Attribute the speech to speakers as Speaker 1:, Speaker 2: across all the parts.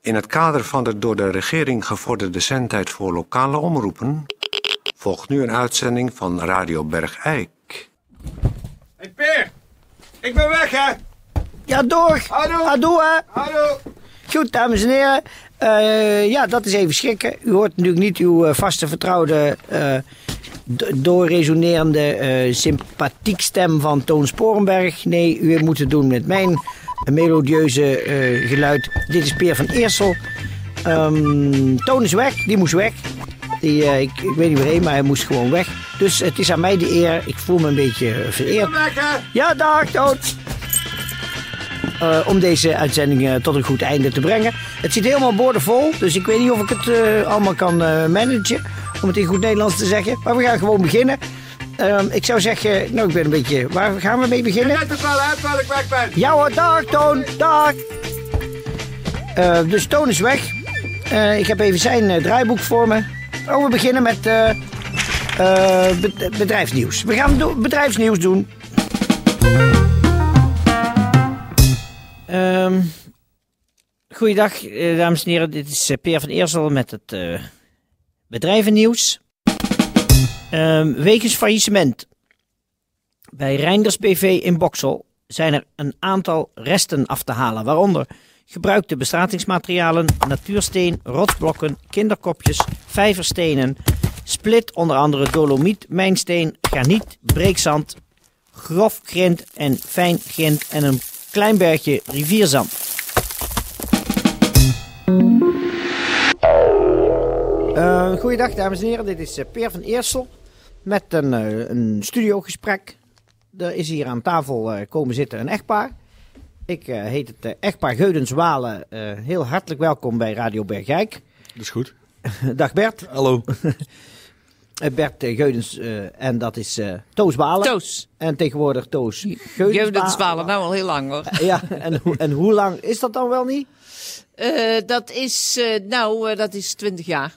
Speaker 1: In het kader van de door de regering gevorderde zendtijd voor lokale omroepen volgt nu een uitzending van Radio Bergijk.
Speaker 2: hey Peer, ik ben weg hè.
Speaker 3: Ja, door.
Speaker 2: Hallo.
Speaker 3: Hallo. hè.
Speaker 2: Hallo.
Speaker 3: Goed, dames en heren. Eh, ja, dat is even schrikken. U hoort natuurlijk niet uw eh, vaste vertrouwde, eh, d- doorresonerende, eh, sympathiek stem van Toon Sporenberg. Nee, u moet het doen met mijn melodieuze eh, geluid. Dit is Peer van Eersel. Ehm, Toon is weg, die moest weg. Die, eh, ik, ik weet niet waarheen, maar hij moest gewoon weg. Dus het is aan mij de eer. Ik voel me een beetje eh, vereerd.
Speaker 2: Weg hè.
Speaker 3: Ja, dag, Toon. Eh, om deze uitzending eh, tot een goed einde te brengen. Het zit helemaal boordevol, dus ik weet niet of ik het eh, allemaal kan eh, managen. Om het in goed Nederlands te zeggen. Maar we gaan gewoon beginnen. Ehm, ik zou zeggen, nou, ik ben een beetje. Waar gaan we mee beginnen?
Speaker 2: Net het wel hè, terwijl ik weg ben.
Speaker 3: Ja hoor, dag Toon, dag. Eh, dus Toon is weg. Eh, ik heb even zijn eh, draaiboek voor me. Oh, we beginnen met eh, eh, be- bedrijfsnieuws. We gaan do- bedrijfsnieuws doen.
Speaker 4: Ehm goeiedag, eh, dames en heren. Dit is eh, Peer van Eersel met het eh, bedrijvennieuws. Ehm wegens faillissement bij Reinders BV in Boksel zijn er een aantal resten af te halen, waaronder gebruikte bestratingsmaterialen, natuursteen, rotsblokken, kinderkopjes, vijverstenen, split onder andere dolomiet, mijnsteen, graniet, breekzand, grof grind en fijn grind en een klein bergje rivierzand.
Speaker 3: Eh goeiedag, dames en heren. Dit is eh, Peer van Eersel met een, eh, een studiogesprek. Er is hier aan tafel eh, komen zitten een echtpaar. Ik eh, heet het eh, echtpaar Geudens-Walen. eh, heel hartelijk welkom bij Radio Bergijk.
Speaker 5: Dat is goed.
Speaker 3: Dag Bert.
Speaker 5: Hallo.
Speaker 3: Eh, Bert eh, Geudens eh, en dat is eh, Toos Walen.
Speaker 6: Toos.
Speaker 3: En tegenwoordig Toos Geudens.
Speaker 6: Jeugdend Zwalen, nou al heel lang hoor.
Speaker 3: Ja, en, hoe- en hoe lang is dat dan wel niet?
Speaker 6: Eh, dat is, eh, nou, eh, dat is 20 jaar.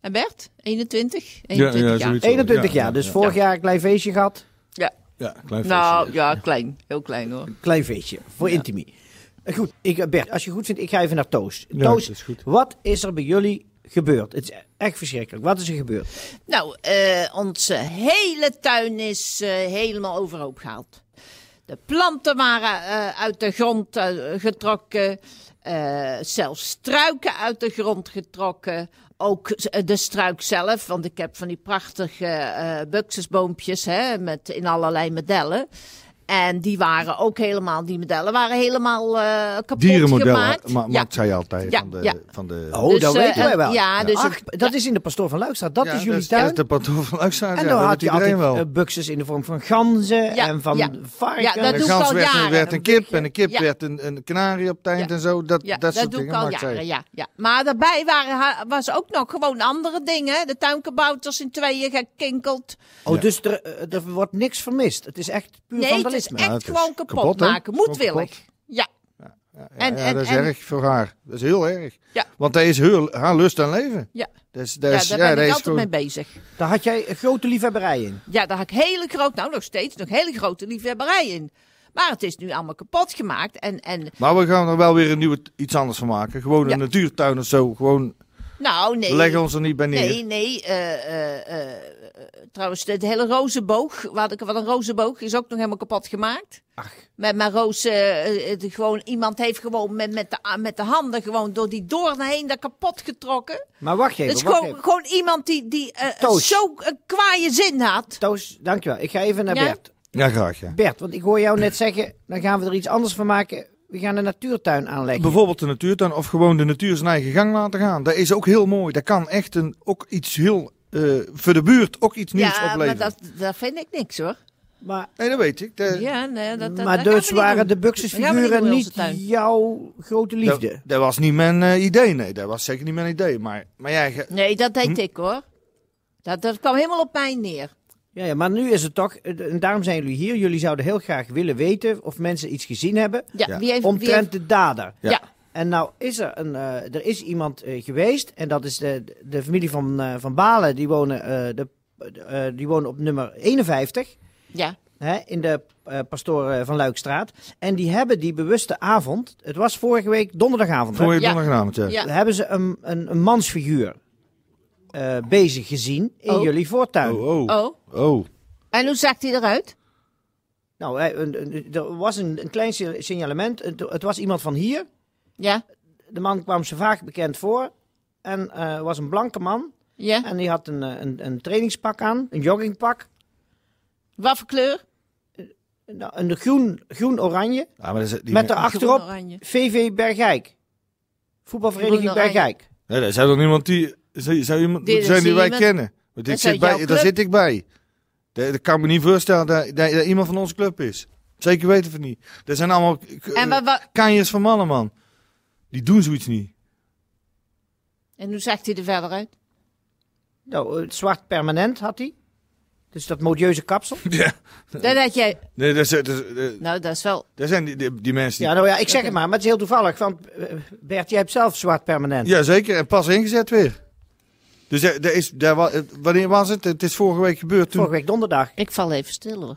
Speaker 6: En Bert? 21? 21
Speaker 5: ja,
Speaker 6: jaar.
Speaker 5: zoiets. Zo,
Speaker 3: 21
Speaker 5: ja,
Speaker 3: jaar, dus
Speaker 5: ja.
Speaker 3: vorig jaar een klein feestje gehad.
Speaker 6: Ja.
Speaker 5: Ja, klein
Speaker 6: Nou,
Speaker 5: feestje.
Speaker 6: ja, klein. Heel klein hoor.
Speaker 3: Klein feestje, voor intimie. Eh, Goed, ik, eh, Bert, als je goed vindt, ik ga even naar Toos.
Speaker 5: Ja,
Speaker 3: Toos,
Speaker 5: dat is goed.
Speaker 3: wat is er bij jullie gebeurd? Het is echt verschrikkelijk. Wat is er gebeurd?
Speaker 6: Nou, eh, onze hele tuin is eh, helemaal overhoop gehaald. De planten waren eh, uit de grond eh, getrokken. eh, zelfs struiken uit de grond getrokken. Ook eh, de struik zelf, want ik heb van die prachtige eh buxusboompjes hè, met, in allerlei modellen. En die waren ook helemaal, die modellen waren helemaal eh, kapot
Speaker 7: Dierenmodellen
Speaker 6: gemaakt.
Speaker 7: ma maakt
Speaker 6: ja.
Speaker 7: zij altijd
Speaker 6: Ja,
Speaker 7: van de...
Speaker 6: ja.
Speaker 7: Van de
Speaker 3: Oh,
Speaker 6: Dus,
Speaker 3: dat
Speaker 6: eh,
Speaker 3: weten wij wel.
Speaker 6: ja, dus
Speaker 3: Ach,
Speaker 6: het-
Speaker 3: dat is in de Pastoor van Luikstraat. Dat
Speaker 7: Ja,
Speaker 3: is jullie
Speaker 7: dat dat
Speaker 3: tuin.
Speaker 7: is de pantoffel van Luikstraad.
Speaker 3: en
Speaker 7: Ja,
Speaker 3: dan
Speaker 7: dat
Speaker 3: had
Speaker 7: had
Speaker 3: je
Speaker 7: iedereen
Speaker 3: altijd
Speaker 7: wel.
Speaker 3: eh, buxes in de vorm van ganzen
Speaker 6: Ja,
Speaker 3: en van
Speaker 6: ja.
Speaker 3: varkens.
Speaker 6: Ja, dat
Speaker 7: de
Speaker 6: doe ik
Speaker 7: gans
Speaker 6: al
Speaker 7: werd,
Speaker 6: jaren.
Speaker 7: werd een kip en een kip
Speaker 6: Ja.
Speaker 7: werd een, een kanarie op het eind
Speaker 6: Ja.
Speaker 7: en zo. Dat,
Speaker 6: Ja,
Speaker 7: dat
Speaker 6: dat,
Speaker 7: soort
Speaker 6: doe ik
Speaker 7: dingen
Speaker 6: al
Speaker 7: maakt zij.
Speaker 6: jaren, ja, ja. Maar daarbij waren, ha- was ook nog gewoon andere dingen. hè. De tuinkabouters in tweeën gekinkeld.
Speaker 3: Oh, dus er, eh, er wordt niks vermist. Het is echt puur
Speaker 6: Nee, het is
Speaker 3: vandalisme.
Speaker 6: echt
Speaker 7: Nou, het is
Speaker 6: gewoon kapot,
Speaker 7: kapot, hè?
Speaker 6: maken.
Speaker 7: Gewoon
Speaker 6: Moedwillig.
Speaker 7: kapot.
Speaker 6: Ja.
Speaker 7: Ja,
Speaker 6: En-
Speaker 7: ja,
Speaker 6: en-
Speaker 7: dat is
Speaker 6: en-
Speaker 7: erg voor haar. Dat is heel erg.
Speaker 6: Ja.
Speaker 7: Want dat is heel, haar lust aan leven.
Speaker 6: Ja.
Speaker 7: Dat is,
Speaker 6: Ja,
Speaker 7: dat is,
Speaker 6: daar
Speaker 7: ja,
Speaker 6: ben
Speaker 7: dat
Speaker 6: ik
Speaker 7: is
Speaker 6: altijd
Speaker 7: gewoon-
Speaker 6: mee bezig.
Speaker 3: Daar had jij een grote liefhebberij in.
Speaker 6: Ja, daar had ik hele groot, nou nog steeds, nog hele grote liefhebberij in. Maar het is nu allemaal kapot gemaakt. En, en
Speaker 7: Maar we gaan er wel weer een nieuwe, iets anders van maken. Gewoon
Speaker 6: Ja.
Speaker 7: een natuurtuin of zo. Gewoon,
Speaker 6: nou, nee.
Speaker 7: we leggen ons er niet bij neer.
Speaker 6: Nee, nee. eh, eh, eh, trouwens, de, de hele rozenboog, wat, ik, wat een rozenboog, is ook nog helemaal kapot gemaakt.
Speaker 3: Ach.
Speaker 6: Met mijn rozen, eh, eh, de- gewoon, iemand heeft gewoon met, met, de, a- met de handen gewoon door die doorn heen dat kapot getrokken.
Speaker 3: Maar wacht even,
Speaker 6: Het is
Speaker 3: wacht
Speaker 6: gewoon,
Speaker 3: even.
Speaker 6: gewoon iemand die, die eh,
Speaker 3: Toos.
Speaker 6: zo een kwaaie zin had.
Speaker 3: Toos, dankjewel. Ik ga even naar
Speaker 6: Ja?
Speaker 3: Bert.
Speaker 7: Ja, graag ja.
Speaker 3: Bert, want ik hoor jou net zeggen, dan gaan we er iets anders van maken. We gaan een natuurtuin aanleggen.
Speaker 7: Bijvoorbeeld de natuurtuin of gewoon de natuur zijn eigen gang laten gaan. Dat is ook heel mooi. Dat kan echt een, ook iets heel, eh, voor de buurt ook iets nieuws
Speaker 6: ja, maar
Speaker 7: opleveren.
Speaker 6: dat, dat vind ik niks hoor.
Speaker 3: maar
Speaker 7: Nee, dat weet ik. Dat,
Speaker 6: Ja, nee, dat, dat,
Speaker 3: maar
Speaker 6: dat gaan
Speaker 3: dus
Speaker 6: we niet
Speaker 3: waren
Speaker 6: doen.
Speaker 3: de
Speaker 6: Dat gaan
Speaker 3: buxusfiguren
Speaker 6: we
Speaker 3: niet
Speaker 6: niet doen in onze tuin.
Speaker 3: jouw grote
Speaker 7: dat-
Speaker 3: liefde.
Speaker 7: dat was niet mijn eh, idee. Nee, dat was zeker niet mijn idee. Maar, maar ja, ge-
Speaker 6: Nee, dat deed ik hoor. Dat, dat kwam helemaal op mij neer.
Speaker 3: Ja, ja, maar nu is het toch, eh, en daarom zijn jullie hier. Jullie zouden heel graag willen weten of mensen iets gezien hebben
Speaker 6: Ja,
Speaker 7: Ja.
Speaker 6: Wie heeft, wie
Speaker 3: omtrent
Speaker 6: heeft-
Speaker 3: de dader.
Speaker 6: ja.
Speaker 3: En nou is er, een, eh, er is iemand eh, geweest, en dat is de, de familie van, eh, van Balen. Die wonen, eh, de, eh, die wonen op nummer 51.
Speaker 6: ja.
Speaker 3: hè, in de eh Pastoor eh, van Luikstraat. En die hebben die bewuste avond, het was vorige week donderdagavond, hè,
Speaker 7: Voor je
Speaker 6: Ja.
Speaker 7: donderdagavond, ja.
Speaker 6: Ja.
Speaker 3: hebben ze een, een, een mansfiguur eh, bezig gezien in
Speaker 6: Oh.
Speaker 3: jullie voortuin.
Speaker 7: Oh, oh,
Speaker 6: Oh,
Speaker 7: oh.
Speaker 6: en hoe zag hij eruit?
Speaker 3: Nou, eh, een- een- er was een, een klein si- signalement. Het, het was iemand van hier.
Speaker 6: Ja,
Speaker 3: De man kwam ze vaak bekend voor. En eh, was een blanke man.
Speaker 6: ja.
Speaker 3: En die had een, eh, een, een trainingspak aan, een joggingpak.
Speaker 6: Wat voor kleur?
Speaker 3: Nou, Een groen- groen-oranje.
Speaker 7: Ja, maar dat is, die
Speaker 3: met
Speaker 7: men-
Speaker 3: daarachterop
Speaker 6: Groen oranje.
Speaker 3: VV Bergijk. Voetbalvereniging
Speaker 6: Groen oranje.
Speaker 3: Bergijk.
Speaker 7: Nee, dat zou toch niemand die, zou, zou iemand
Speaker 6: Dit
Speaker 7: moeten
Speaker 6: is
Speaker 7: zijn die wij
Speaker 6: iemand-
Speaker 7: kennen? Want ik
Speaker 6: is uit
Speaker 7: zit bij,
Speaker 6: jouw
Speaker 7: daar
Speaker 6: club.
Speaker 7: zit ik bij. Dat, dat kan me niet voorstellen dat, dat, dat iemand van onze club is. Zeker weten we niet. Dat zijn allemaal k-
Speaker 6: En, wat, wat-
Speaker 7: kanjers van mannen, man. Die doen zoiets niet.
Speaker 6: en hoe zag hij er verder uit?
Speaker 3: Nou, eh, zwart permanent had hij. Dus dat modieuze kapsel.
Speaker 7: Ja.
Speaker 6: Dat had jij...
Speaker 7: Nee, dat, zijn- dat, dat-
Speaker 6: Nou, dat is wel...
Speaker 7: dat zijn die, die, die mensen die...
Speaker 3: Ja, nou ja, ik zeg het maar. Maar het is heel toevallig. Want eh, Bert, jij hebt zelf zwart permanent.
Speaker 7: Ja, zeker. En pas ingezet weer. Dus er, er is, daar wa- eh, wanneer was het? Het is vorige week gebeurd. Toen,
Speaker 3: Vorige week donderdag.
Speaker 6: Ik val even stil hoor.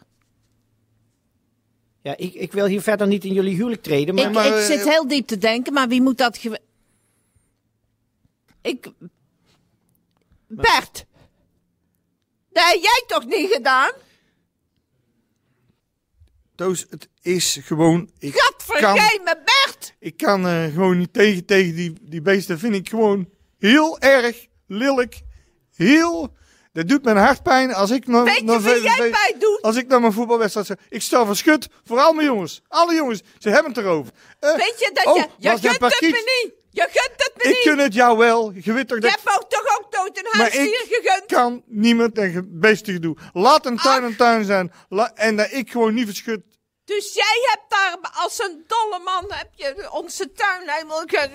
Speaker 3: Ja, ik, ik wil hier verder niet in jullie huwelijk treden. Maar
Speaker 6: Ik,
Speaker 7: maar,
Speaker 6: ik
Speaker 7: eh,
Speaker 6: zit heel diep te denken, maar wie moet dat... gewe- Ik... Bert! Dat heb jij toch niet gedaan?
Speaker 7: Toos, het is gewoon... Ik kan,
Speaker 6: Gadvergeen me, Bert!
Speaker 7: ik kan eh, gewoon niet tegen, tegen die, die beesten. vind ik gewoon heel erg lelijk. Heel... Dat doet mijn hart pijn als ik... naar-
Speaker 6: Weet je
Speaker 7: naar
Speaker 6: wie
Speaker 7: VVV
Speaker 6: jij pijn doet?
Speaker 7: Als ik naar mijn voetbalwedstrijd... zou- Ik sta van schut voor al mijn jongens. Alle jongens. Ze hebben het erover. Eh,
Speaker 6: Weet je dat
Speaker 7: oh,
Speaker 6: je... Je
Speaker 7: was
Speaker 6: gunt
Speaker 7: dat
Speaker 6: het
Speaker 7: Parkiet?
Speaker 6: me niet! Je gunt het me
Speaker 7: Ik
Speaker 6: niet!
Speaker 7: gun het jou wel. Je weet toch
Speaker 6: Je
Speaker 7: dat
Speaker 6: hebt ook toch ook dood een
Speaker 7: Maar
Speaker 6: huisdier
Speaker 7: ik
Speaker 6: gegund? Ah.
Speaker 7: kan niemand een ge- beestig doen. Laat een tuin een tuin zijn. La- en dat ik gewoon niet verschut.
Speaker 6: Dus jij hebt daar als een dolle man heb je onze tuin helemaal... ge-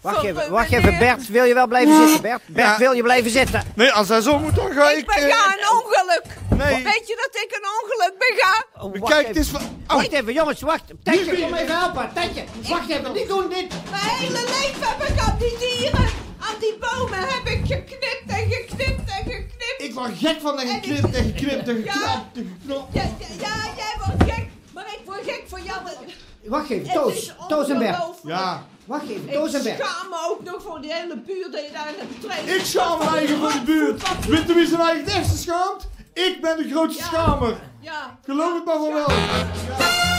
Speaker 3: wacht even,
Speaker 6: verruineerd.
Speaker 3: wacht even. Bert, wil je wel blijven zitten? Bert, Bert
Speaker 7: Ja.
Speaker 3: wil je blijven zitten? Oh,
Speaker 7: Nee, als dat zo moet, dan ga ik...
Speaker 6: Ik ben nou.
Speaker 7: eh,
Speaker 6: ga een ongeluk.
Speaker 7: Nee.
Speaker 6: Weet je dat ik een ongeluk ben ga?
Speaker 3: Oh,
Speaker 7: eh,
Speaker 3: wacht
Speaker 7: Kijk,
Speaker 3: even.
Speaker 7: het is... van- Oh,
Speaker 3: Wacht even, jongens, wacht. Tetje, kom even helpen. Tetje, wacht even, niet doen dit.
Speaker 6: Mijn hele leven heb ik aan die dieren, aan die bomen heb ik geknipt en geknipt en geknipt.
Speaker 7: ik word gek van dat geknipt en geknipt en geknapt en geknopt.
Speaker 6: Ja, ja, ja, jij wordt gek, maar ik word gek voor jou. Het
Speaker 3: Wacht even,
Speaker 6: is
Speaker 3: Toos. Toos en Bert.
Speaker 6: ongelooflijk.
Speaker 7: Ja.
Speaker 3: Wacht even, Toos en
Speaker 6: Ik
Speaker 3: Bert.
Speaker 6: schaam me ook nog voor die hele buurt dat je daar hebt trainen.
Speaker 7: Ik schaam me eigen voor de buurt. Weet je wie nou zijn eigen het echte schaamt? Ik ben de grootste schamer.
Speaker 6: Ja.
Speaker 7: Geloof het maar van wel.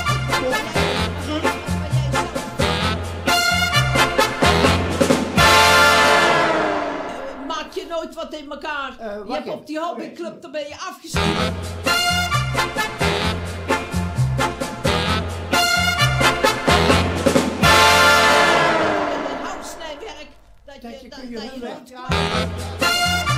Speaker 6: Maak je nooit wat in elkaar.
Speaker 3: Eh, wacht
Speaker 6: je hebt
Speaker 3: even.
Speaker 6: op die hobbyclub, daar ben je afgestuurd. En een houtsnijwerk, dat je, dat, dat je nooit kwaad-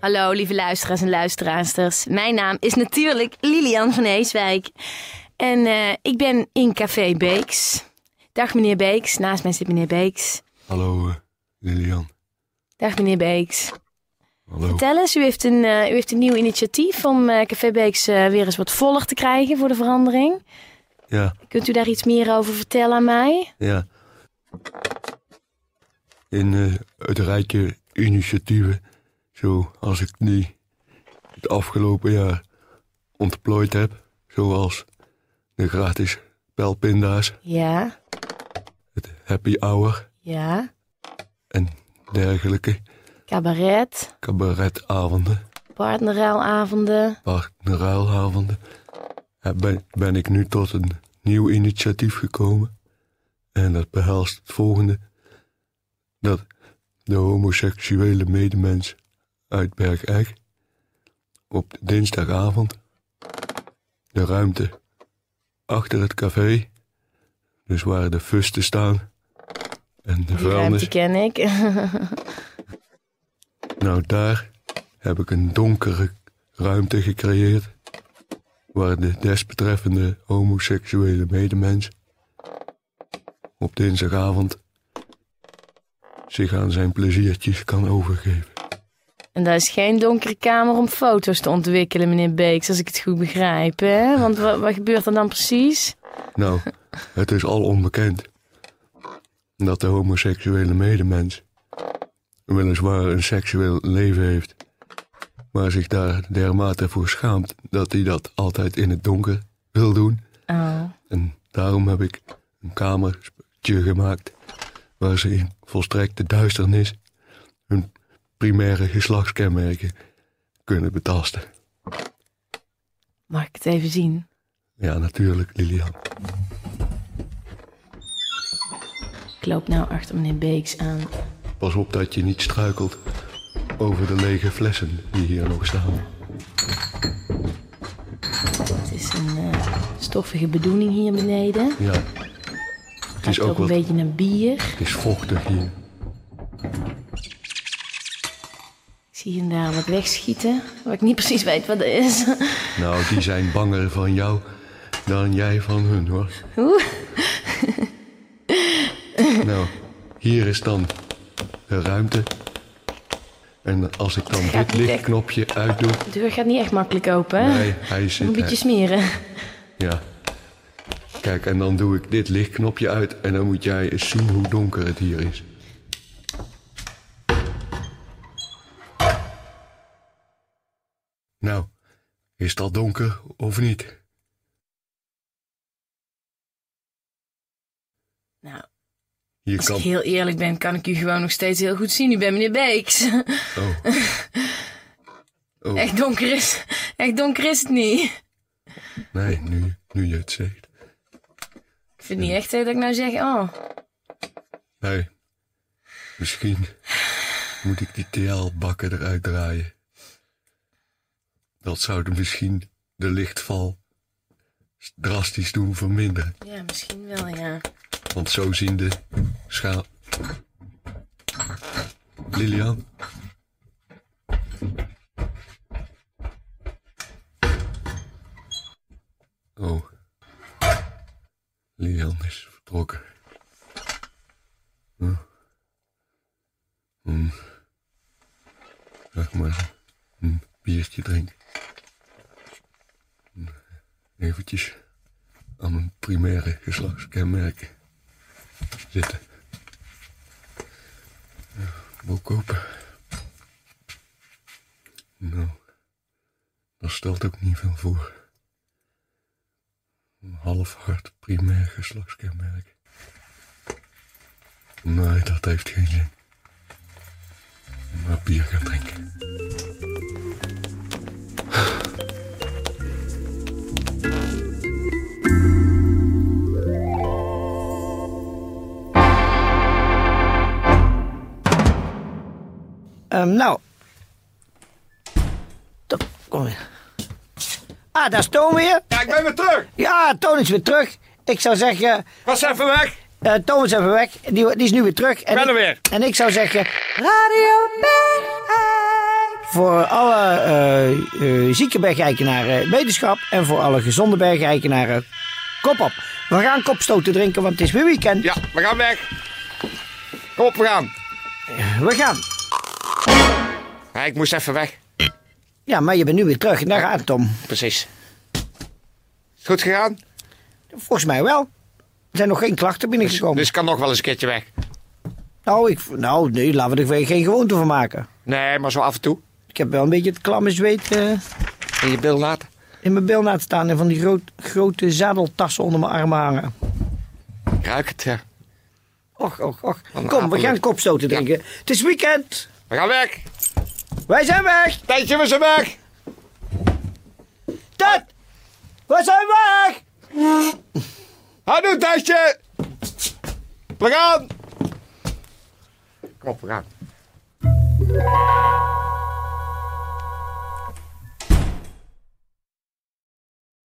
Speaker 5: Hallo lieve luisteraars en luisteraarsters. Mijn naam is natuurlijk Lilian van Heeswijk. En eh, ik ben in Café Beeks. Dag meneer Beeks, naast mij zit meneer Beeks.
Speaker 8: Hallo eh, Lilian.
Speaker 5: Dag meneer Beeks.
Speaker 8: Hallo.
Speaker 5: Vertel eens, u heeft een, eh, u heeft een nieuw initiatief om eh, Café Beeks eh, weer eens wat voller te krijgen voor de verandering.
Speaker 8: Ja,
Speaker 5: Kunt u daar iets meer over vertellen aan mij?
Speaker 8: ja. In eh, het rijtje initiatieven, zoals ik die het afgelopen jaar ontplooid heb, zoals de gratis pijlpinda's,
Speaker 5: Ja,
Speaker 8: het happy hour
Speaker 5: ja.
Speaker 8: en dergelijke
Speaker 5: Cabaret,
Speaker 8: cabaretavonden,
Speaker 5: partnerruilavonden.
Speaker 8: partnerruilavonden, eh, ben, ben ik nu tot een nieuw initiatief gekomen. En dat behelst het volgende: dat de homoseksuele medemens uit Bergijk op dinsdagavond de ruimte achter het café, dus waar de fusten staan en de
Speaker 5: Die ruimte
Speaker 8: vuilnis,
Speaker 5: ken ik.
Speaker 8: nou daar heb ik een donkere ruimte gecreëerd waar de desbetreffende homoseksuele medemens op dinsdagavond zich aan zijn pleziertjes kan overgeven.
Speaker 5: En dat is geen donkere kamer om foto's te ontwikkelen, meneer Beeks, als ik het goed begrijp. Hè? Want wat, wat gebeurt er dan precies?
Speaker 8: Nou, het is al onbekend dat de homoseksuele medemens weliswaar een seksueel leven heeft, maar zich daar dermate voor schaamt dat hij dat altijd in het donker wil doen.
Speaker 5: Oh.
Speaker 8: En daarom heb ik een kamertje gemaakt waar ze in volstrekte duisternis hun primaire geslachtskenmerken kunnen betasten.
Speaker 5: Mag ik het even zien?
Speaker 8: Ja, natuurlijk, Lilian.
Speaker 5: Ik loop nou achter meneer Beeks aan.
Speaker 8: Pas op dat je niet struikelt over de lege flessen die hier nog staan.
Speaker 5: Het is een eh, stoffige bedoeling hier beneden.
Speaker 8: Ja, het is
Speaker 5: Ruikt
Speaker 8: ook
Speaker 5: een
Speaker 8: wat,
Speaker 5: beetje naar bier.
Speaker 8: het is vochtig hier.
Speaker 5: Ik zie hier en daar wat wegschieten, waar ik niet precies weet wat dat is.
Speaker 8: Nou, die zijn banger van jou dan jij van hun, hoor.
Speaker 5: Oeh.
Speaker 8: Nou, hier is dan de ruimte. En als ik dan
Speaker 5: gaat niet
Speaker 8: dit
Speaker 5: echt.
Speaker 8: lichtknopje uitdoe...
Speaker 5: De deur gaat niet echt makkelijk open. hè?
Speaker 8: Nee, hij zit...
Speaker 5: Een beetje smeren.
Speaker 8: Ja. Kijk, en dan doe ik dit lichtknopje uit en dan moet jij eens zien hoe donker het hier is. Nou, is dat donker of niet?
Speaker 5: Nou,
Speaker 8: Hier
Speaker 5: als ik
Speaker 8: kan.
Speaker 5: heel eerlijk ben, kan ik u gewoon nog steeds heel goed zien. U bent meneer Beeks.
Speaker 8: Oh. Oh,
Speaker 5: Echt donker is, echt donker is het niet.
Speaker 8: nee, nu, nu je het zegt.
Speaker 5: Ik vind niet echt hè, dat ik nou zeg, oh,
Speaker 8: Nee. Misschien moet ik die TL-bakken eruit draaien. Dat zou de- misschien de lichtval s- drastisch doen verminderen.
Speaker 5: ja, misschien wel, ja.
Speaker 8: Want zo zien de schaal. Lilian? Oh. Lilian is vertrokken. Hm. Hm. Zeg maar een biertje drinken. Hm. Eventjes aan mijn primaire geslachtskenmerken zitten. Ja, Boek open. Nou, dat stelt ook niet veel voor. Een half hard primair geslachtskenmerk. Nee, dat heeft geen zin. Maar bier gaan drinken.
Speaker 3: Ehm, nou. To- Kom weer. Ah, daar is Toon weer.
Speaker 2: Ja, ik ben weer terug.
Speaker 3: Ja, Toon is weer terug. Ik zou zeggen,
Speaker 2: Was even weg.
Speaker 3: eh Toon is even weg. Die, die is nu weer terug. En
Speaker 2: ben
Speaker 3: ik-
Speaker 2: er weer.
Speaker 3: En ik zou zeggen... Radio Voor alle eh eh, zieke bergeikenaren wetenschap. En voor alle gezonde bergeikenaren kop op. We gaan kopstoten drinken, want het is weer weekend.
Speaker 2: Ja, we gaan weg. Kom op, we gaan.
Speaker 3: We gaan.
Speaker 2: Ja, ik moest even weg.
Speaker 3: Ja, maar je bent nu weer terug. En daar gaat het om.
Speaker 2: Precies. Is het goed gegaan?
Speaker 3: Volgens mij wel. Er zijn nog geen klachten binnengekomen.
Speaker 2: Dus ik kan nog wel eens een keertje weg.
Speaker 3: Nou, ik, nou nee, laten we er weer geen gewoonte van maken.
Speaker 2: Nee, maar zo af en toe.
Speaker 3: Ik heb wel een beetje het klamme zweet eh,
Speaker 2: In je bil laten.
Speaker 3: in mijn bil laten staan. En van die groot- grote zadeltassen onder mijn armen hangen.
Speaker 2: Ik Ruik het, ja.
Speaker 3: Och, och, och.
Speaker 2: Een
Speaker 3: Kom, we
Speaker 2: apenlip.
Speaker 3: gaan kopstoten drinken. Het is weekend.
Speaker 2: We gaan weg.
Speaker 3: Wij zijn weg.
Speaker 2: Tijdje, we zijn weg.
Speaker 3: Dat. We zijn weg.
Speaker 2: Houdoe, Tijdje. We gaan. Kom op, we gaan.